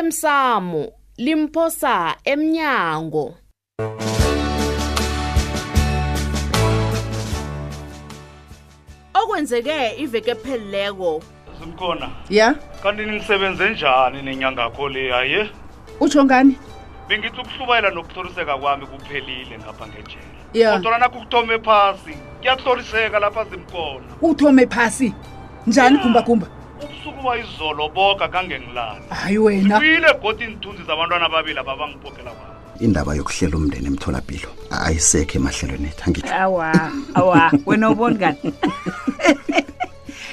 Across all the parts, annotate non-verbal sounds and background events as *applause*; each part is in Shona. osemsamo limphosa emnyango okwenzeke iveke pheleleko simkhona ya kanti ninisebenze njani nenyangakho le aye utsho ngani bengithi ukuhlubayela nokuhloriseka kwami kuphelile ngapha ngejela Ya. kodwana nakho kuthome phasi kuyahloriseka lapha simkhona uthome phasi njani gumbagumba ubusuku wayizolo boga kangengilali hayi wena zibuyile godi inithunzi zabantwana ababili ababangibhokela kwami indaba yokuhlela umndeni emtholapilo ayisekho emahlelweni ethu angitsho awa awa wena uboni *laughs* kani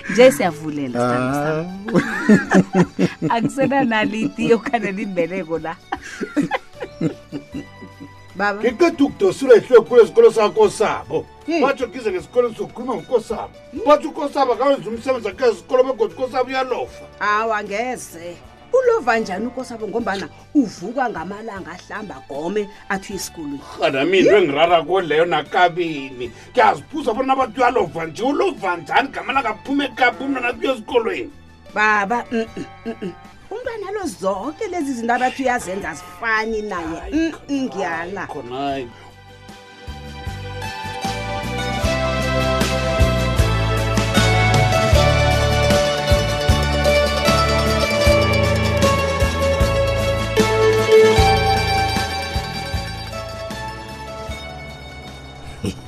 nje siyavulela sithandwa sami. *laughs* akusenanaliti okanye limbeleko la baba ngiqeda ukudosula ihliwe khulu esikolo sakho sabo Hmm. batsho kize ngesikolweni sokukhuluma ngokosabo batsho ukosabo akawenza umsebenzi akhe esikolo begodi ukosabo uyalofa awa ngeze ulova njani ukosabo ngombana uvuka ngamalanga ahlamba gome athi uyesikolweni kanami into engirara koleyo nakabini kuyaziphuza bona abantu uyalova nje ulova njani gamalanga aphuma ekapa umntwana athi uyesikolweni baba mm, mm, mm, mm. umntwana lo zonke lezi zinto abathi uyazenza zifani naye Mm, mm, ngiyala khonayo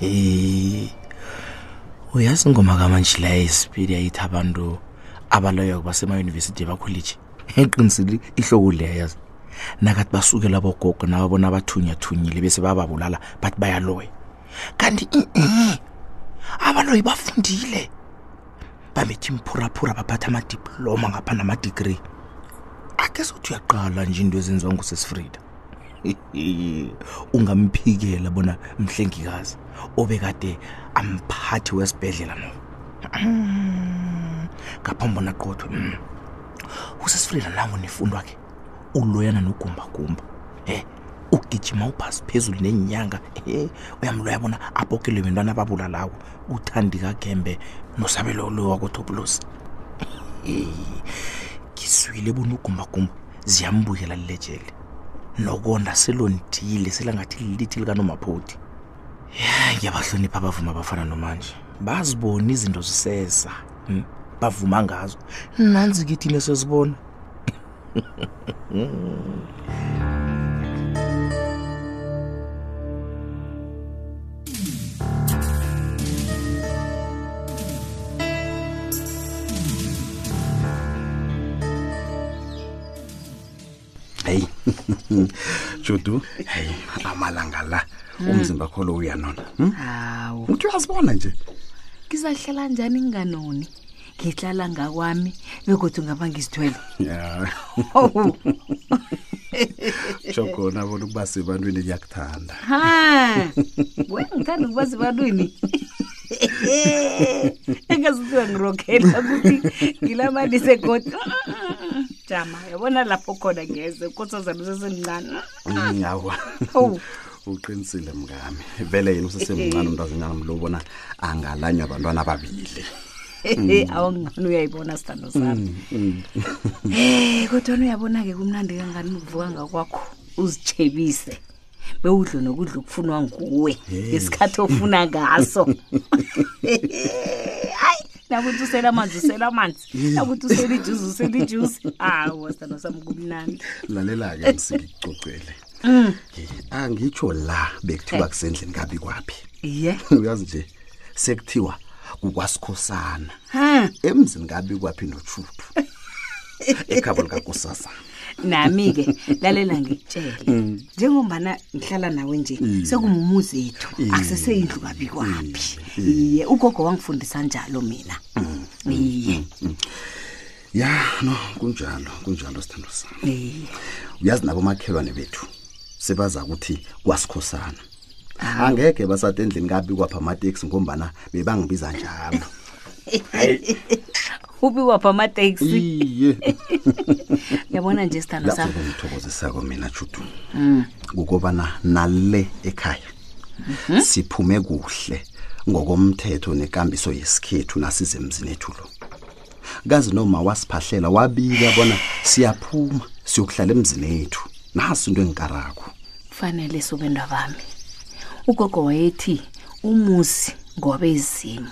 Eh. Uyazi ingoma kamantshila isipidi yayitha abantu abaloyo basemayunivesithi bakholiji. Eqinisile ihloko leya yazi. Nakathi basukela bogogo nababona abathunya thunyile bese bababulala bathi bayaloya. Kanti eh abaloyi bafundile. Bamethi imphuraphura baphatha ama-diploma ngapha nama-degree. Ake sothi uyaqala nje into ezenziwa ngusesifrida. *laughs* ungamphikela bona mhlengikazi obekade amphathi wesibhedlela no *clears throat* ngaphambi bona qothwe mm. usesifrida nango nifundo akhe uloyana nogumbagumba e ugijima uphasi phezulu nenyanga e uyamloya bona abokele bentwana ababulalawo uthandi kagembe nosabelo lo wakotopulosi ngizwile bona ugumbagumba ziyambukela lile jele nokonda selondile selangathi lilithi likanomaphodi ya ngiyabahlonipha abavuma abafana nomanje bazibona izinto ziseza hmm? bavuma ngazo nanzi kithina sesibona heyi *laughs* judu heyi amalanga la umzimba kho lo uya nona hmm? hawu uthi uyazibona nje ngizahlala njani nginganoni ngihlala ngakwami begodwa ngaba ngizithwele ya Hawu, tsho khona bona ukuba sebantwini kuyakuthanda ha wena ngithanda ukuba *laughs* sebantwini engazithiwa ngirokhela ukuthi ngilamanise kodwa *laughs* jama yabona lapho khona ngeze ukosazana usesemncane Mm, awa Hawu. *laughs* uqinisile mngami vele yena usesemncane umntazinyana mlo bona angalanywa abantwana ababili *laughs* awungani uyayibona sithando sami Eh kodwana uyabona-ke kumnandi kangani ukuvuka ngakwakho uzitshebise bewudlo nokudla okufunwa nguwe ngesikhathi ofuna ngaso hayi nakuthi usela amanzi usela amanzi nakuthi usela ijuzi usela ijuzi hawa sithando sami kumnandi lalela-ke msingikucocele Hmm. angitsho la bekuthiwa kusendlini kabi kwaphi iye *laughs* uyazi nje sekuthiwa kukwasikhosana *laughs* ha emzini kabi kwaphi notshutu *laughs* ekhabo likakosazana nami-ke lalela ngitshele njengombana ngihlala nawe nje sekungumuzi ethu akuseseyindlu kabi kwaphi iye ugogo wangifundisa njalo mina iye ya no kunjalo kunjalo sithando sami iye uyazi nabomakhelwane bethu sebaza ukuthi kwasikhosana angeke basathe endlini kabi kwaphi amateksi ngombana bebangibiza njalo ubiwapha Mm. amateksi iye yabona nje sithando sami lapsokungithokozisako mina judu kukobana nale ekhaya siphume kuhle ngokomthetho nekambiso yesikhethu nasizemzini ethu lo kazi noma wasiphahlela wabika bona siyaphuma siyokuhlala emzini ethu nasi into engikarako kufanele sobendwa bami ugogo wayethi umuzi ngobe izimo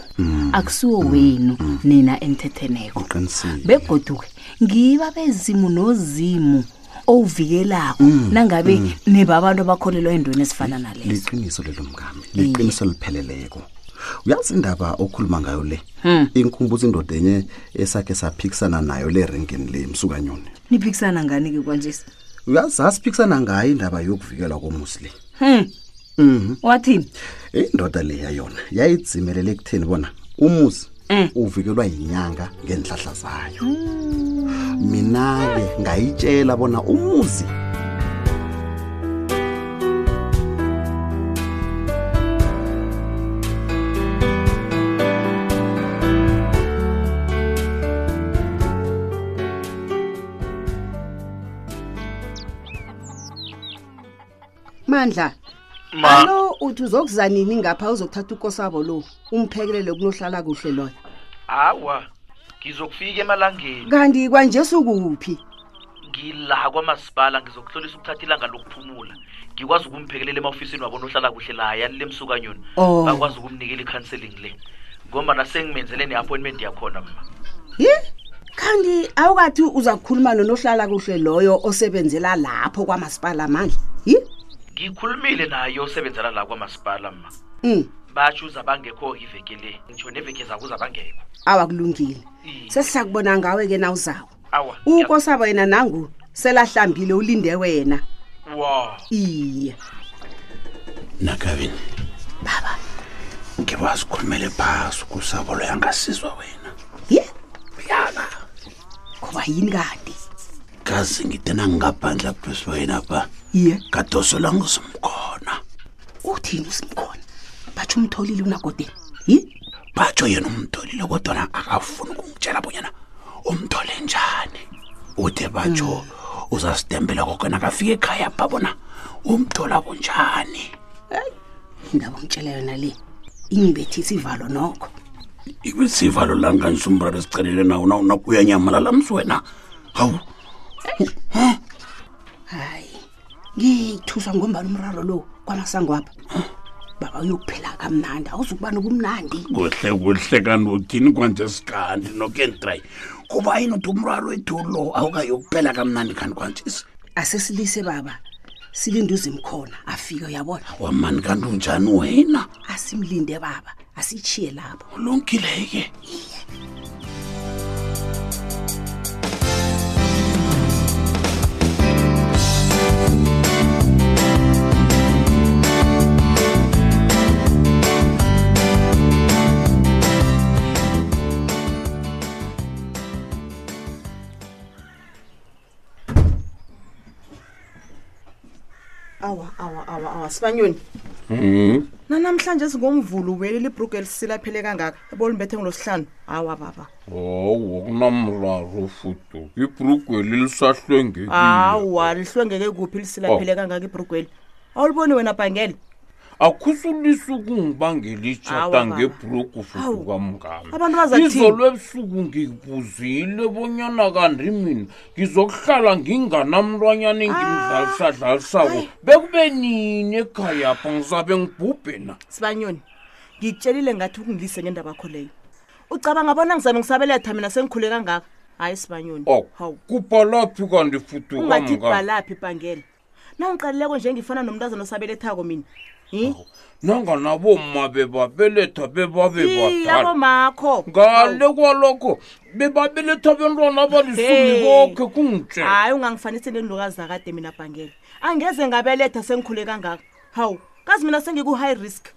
akusiwo wenu nina enithetheneko uqinisile begoduke ngiba bezimo nozimo owuvikelako nangabe nebabantu abakholelwa endweni ezifana nalezo liqiniso lelo mngami liqiniso lipheleleko uyazi indaba okhuluma ngayo le inkumbuza indoda enye esakhe saphikisana nayo le renkeni le msukanyoni niphikisana ngani-ke kwanje uyazi asiphikisana ngayo indaba yokuvikelwa komuzi le wathini indoda leya yona yayidzimelele ekutheni bona umuzi uvikelwa yinyanga ngeenhlahla zayo mina-ke ngayitshela bona umuzi mandla ma alo uthi uzokuza nini ngapha uzokuthatha ukosabo lo umphekelele kunohlala kuhle loyo hawa ngizokufika emalangeni kanti kwanje sukuphi ngila kwamasipala ngizokuhlolisa ukuthatha ilanga lokuphumula ngikwazi ukumphekelela emawofisini wabona ohlala kuhle la yalile msukanyoni Oh. bakwazi ukumnikela i-counseling le ngombana sengimenzele ne-appointment yakhona mma yi kanti awukathi uza kukhuluma nonohlala kuhle loyo osebenzela lapho kwamasipala mandla yi ngikhulumile naye osebenzela la kwamasipala mma um batsho uzabangekho iveke le ngitsho neveke zako uzabangekho awakulungile Iye. sesiza kubona ngawe-ke na uzawo awa ukosabo yena nangu selahlambile ulinde wena wa iye nakabini baba ngiba sikhulumele phasi kusabolo yangasizwa wena ye uyala kuba yini kanti kazi ngide nangingabhandla phasi wena ba iye ngadoselwa ngusumkhona uthini usimkhona batsho umtholile unagodeni yi batsho yena umtholile kodwana akafuni ukungitshela bonyana umthole njani ude batsho uzasitembela kokena akafika ekhaya pha bona umthola bunjani indaba ongitshela yona le ingibethisa ivalo nokho ibesivalo langanisumbrara esicelele nawo nawona uyanyamalala msi wena hawu hayi ngithuswa ngombani umraro lo kwamasangwapha baba uyokuphela kamnandi awuzukuba nokumnandi kuhle kuhle kanothini kwanje sikandi nokentry kuba yini uthi umraro wethu lo awukayokuphela kamnandi kanti kwanjesi asesilise baba silinde uzimkhona afike uyabona wamani kanti unjani wena asimlinde baba asitshiye lapho ulungileke awa awa awa awa sibanyoni nanamhlanje singomvulo ubuyelile ibhrugu elisilaphele kangaka ebolimbethe ngolosihlanu awa baba hawu kunamraro fudu ibhrugweli lisahlwengekile awa lihlwengeke kuphi lisilaphele kangaka ibhrugweli awuliboni wena bhangele akhusulisa ukungibangela Awa, itshata baba. ngebhrugu fudu Hawu. kamngami Abantu bazakuthini? izolo ebusuku ngibuzile bonyana kanti mina ngizokuhlala nginganamntwanyana Ah, engimdlalisadlalisako bekube nini ekhayapha ngizabe ngibhubhe na sibanyoni ngikutshelile ngathi ukungilise ngendaba akho leyo ucabanga bona ngizabe ngisabeletha mina sengikhule kangaka hayi sibanyoni Oh, hawu kuphalaphi kanti fudu kamngami ungathi bhalaphi bhangele nangiqalileko nje ngifana nomntazana osabelethako mina hi nanganaboma bebabeletha bebabebadala iyabomakho ngale kwalokho bebabeletha bentwana abalisumi Hey. Ah, bokhe kungitshela hayi ungangifanisi nenlokazi zakade mina bhangele angeze ngabeletha sengikhule kangaka hawu kazi mina sengiku-high risk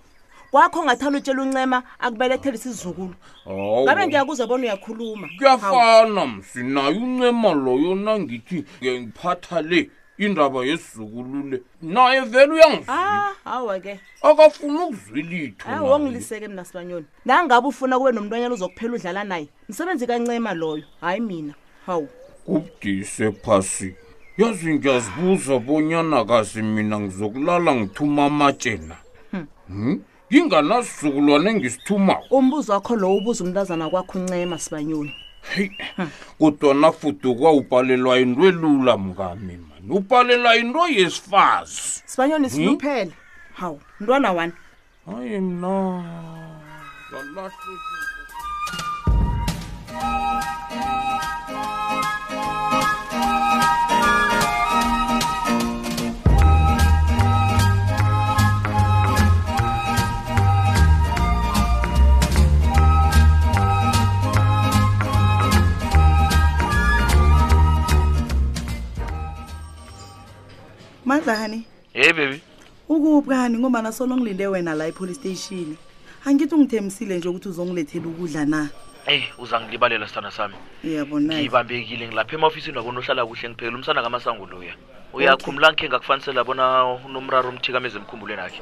kwakho ngathanda utshela uncema akubelethele isizukulu Hawu, ngabe ngiyakuzwa bona uyakhuluma Hawu, kuyafana msi naye uncema loyo nangithi ngiphatha le indaba yesizukulule naye vele uyangizwila ah Eh, hawa-ke akafuni ukuzwilitho hayi Ah, wongiliseke mina sibanyoni nangabe ufuna kube nomntwanyana uzokuphela udlala naye msebenzi kancema loyo hayi mina hawu kubudise phasi yazi ngiyazibuza bonyana kazi mina ngizokulala ngithuma amatshe na Hmm? nginganasizukulwane engisithumako umbuzo wakho lowo ubuza umntazana kwakho uncema sibanyoni heyi kodwana futhi kwawubhalelwa into elula mngami mani ubhalelwa into yesifazi sibanyoni Hmm? siluphele hawu mntwana wani hayi mna ngalahle mandla hani hey baby ukuphi kani ngombana solo ngilinde wena la epolice station angithi ungithembisile nje ukuthi uzongilethela ukudla na eyi uzangilibalela sithanda sami iyabona ngibambekile ngilapha emaofisini wabonohlala kuhle ngiphekela umsana kamasango loya uyakhumula ngikhe ngakufanisela bona unomraro omthikameza emkhumbulweni akhe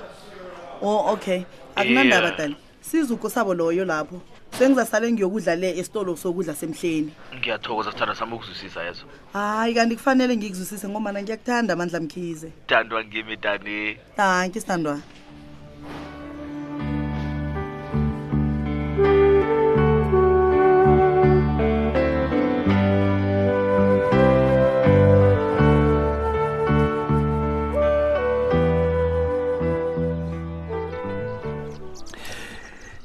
o Oh, okay Yeah. akunandaba dali sizuko sabo loyo lapho sengizasale ngiyokudla le esitolo sokudla semhleni ngiyathokoza sithanda sami ukuzwisisa yezo hayi kanti kufanele ngikuzwisise ngombana ngiyakuthanda amandla mkhize dandwa ngimi dani tanki sithandwa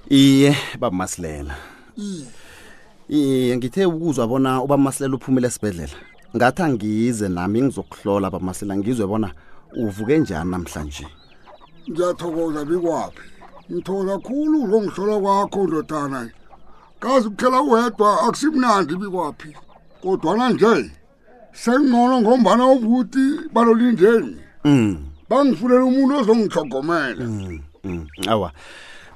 iye babamasilela iye ngithe ukuzwa bona ubamasilela uphumile esibhedlela ngathi angize nami ngizokuhlola babamasilela ngizwe bona uvuke njani namhlanje ngiyathokoza bikwaphi ngithokoza khulu ngongihlola kwakho ndodana kazi kuphela uwedwa akusimnandi bikwaphi kodwana nje sengcono ngombana obuti balolindeni mm. bangifunela umuntu ozongihlogomela Mm, awa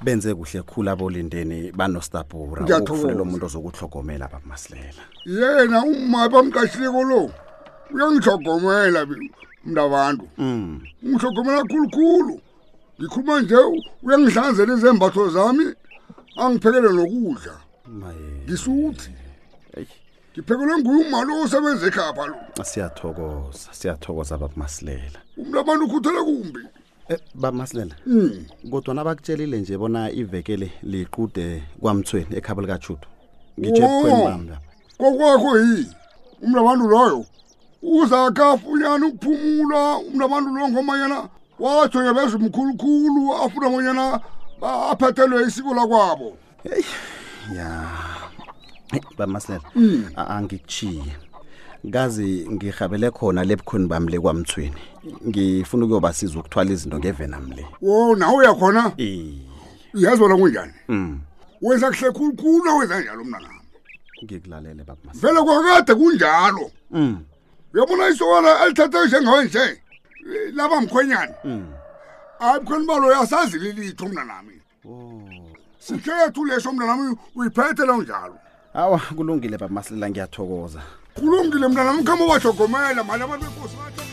benze kuhle khulu abolindeni banostabura Ngiyathokoza. ukufunela umuntu ozokuhlogomela babamasilela yena umma bamqashileko lo uyangihlogomela mntabantu mm. ungihlogomela khulukhulu ngikhuluma nje uyangihlanzela izembatho zami angiphekele nokudla ngisuthi ngiphekelwe nguye umali osebenza ekhapha lo siyathokoza siyathokoza babamasilela umntu abantu ukhuthele kumbi babamasilela Mm. kodwana bakutshelile nje bona ivekele liqude kwamthweni ekhabo likajudo Wo, ngitshekweni bami kokwakho yi umntu abantu loyo uzakafunyana ukuphumula umntu abantu loyo ngomanyana watsho yabeza umkhulukhulu afuna monyana ba- aphethelwe isiko lakwabo ya Hey, bamasilela Eh, Hmm. a- angikuchiye ngazi ngihabele khona lebukhoni bami lekwamthweni ngifuna ukuyobasiza ukuthwala izinto ngevenam le wo nawe uyakhona yazi bona kunjani Mm, wenza kuhle khulukhulu awenza njalo mnanami ngikulalele baba vele kwakade kunjalo Mm, uyabona isokana elithathe njengawe nje eh, laba mkhwenyana mm. hayi mkhweni balo uyasazile ilitho mna nami sikhethu leso mna nami uyiphethela unjalo awa kulungile bamasilela ngiyathokoza kulungile mna nami khama ubajogomela mali abantu benkosi bathi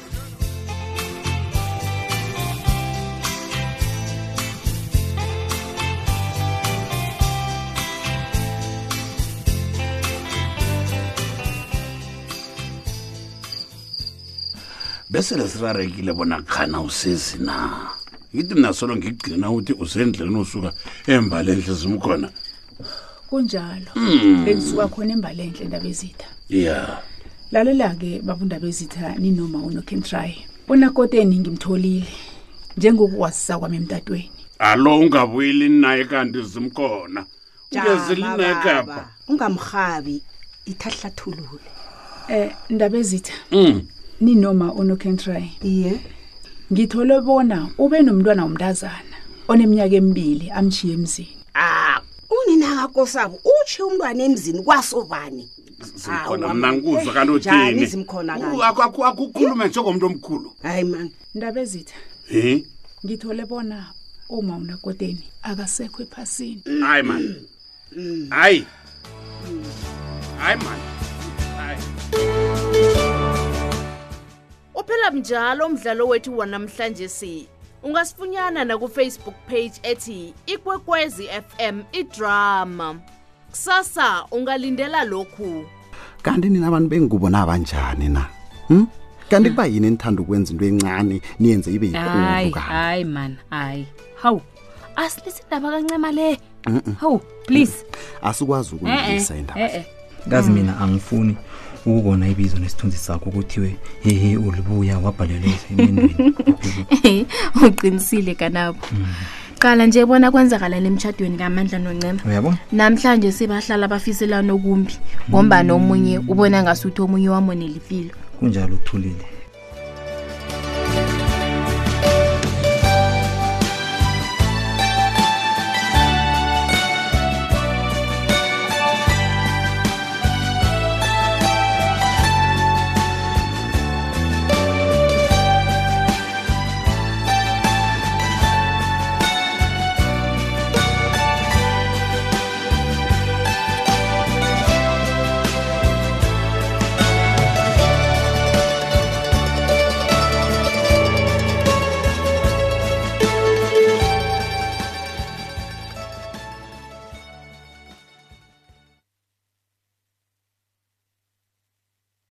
besele sirarekile bona khana usezi na ngithi mna solo ngigcina ukuthi usendleleni usuka embalenhle zimkhona kunjalo Mm. bengisuka khona embalenhle indaba ezitha ya lalela-ke babundaba ezitha ninoma unokhentry unakoteni ngimtholile njengokukwazisa kwami emtatweni alo ungabuyeli naye kanti zimkhona ungezeli naye kapa ungamrhabi ithahlathulule um ndaba ezitha Mm. ninoma unokhentry iye ngithole bona ube nomntwana womntazana oneminyaka emibili amshiye emzini a uninakakosabo utshe umntwana emzini kwasobani khona mna ngikuzwa kanti njani uthini zimkhona akukhulume njengomuntu omkhulu hayi mani ndaba ezitha Eh? ngithole bona uma unakoteni akasekho ephasini hayi mani hayi hayi mani uphela mnjalo umdlalo wethu wanamhlanje si ungasifunyana nakufacebook page ethi ikwekwezi fm idrama kusasa ungalindela lokhu kanti nina abantu bengubo nabanjani na hmm? kanti kuba yini enithanda ukwenza into encane niyenze ibe hayi yikhulu hayi mani hayi hawu asilisi indaba kancema le Mm-mm. hawu please asikwazi ukuyilisa indaba eh-eh kazi mina angifuni ukubona ibizo nesithunzi sakho ukuthiwe hehe ulibuya wabhalelwe emendweni uqinisile kanabo qala nje bona kwenzakalani emtshadweni kamandla noncema uyabona namhlanje sebahlala bafiselana okumbi ngombani omunye ubona ngasuthi omunye wamonela ipilo kunjalo uthulile